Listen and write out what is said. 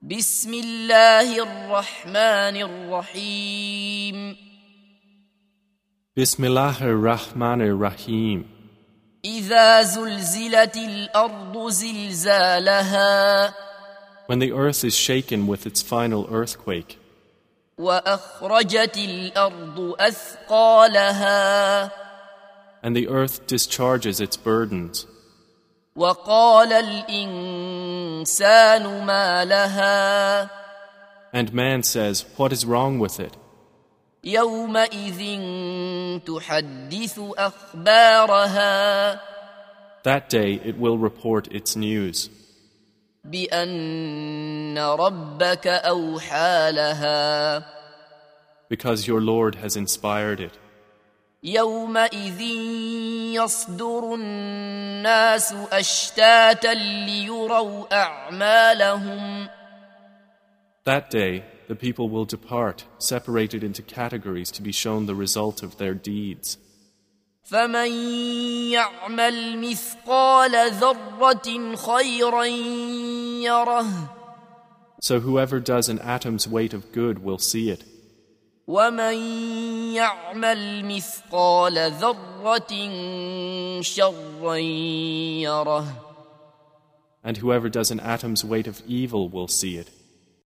بسم الله الرحمن الرحيم Bismillahir Rahmanir Rahim. إذا زلزلت الأرض زلزالها When the earth is shaken with its final earthquake, وأخرجت الأرض أثقالها and the earth discharges its burdens, وقال الإنسان ما لها and man says, What is wrong with it? يومئذ تحدث أخبارها That day it will report its news, بأن ربك أوحى لها because your Lord has inspired it. يومئذ يصدر الناس اشتاتا ليروا اعمالهم That day the people will depart, separated into categories to be shown the result of their deeds. فمن يعمل مثقال ذره خيرا يره So whoever does an atom's weight of good will see it, ومن يعمل مثقال ذره شرا يره and whoever does an atom's weight of evil will see it.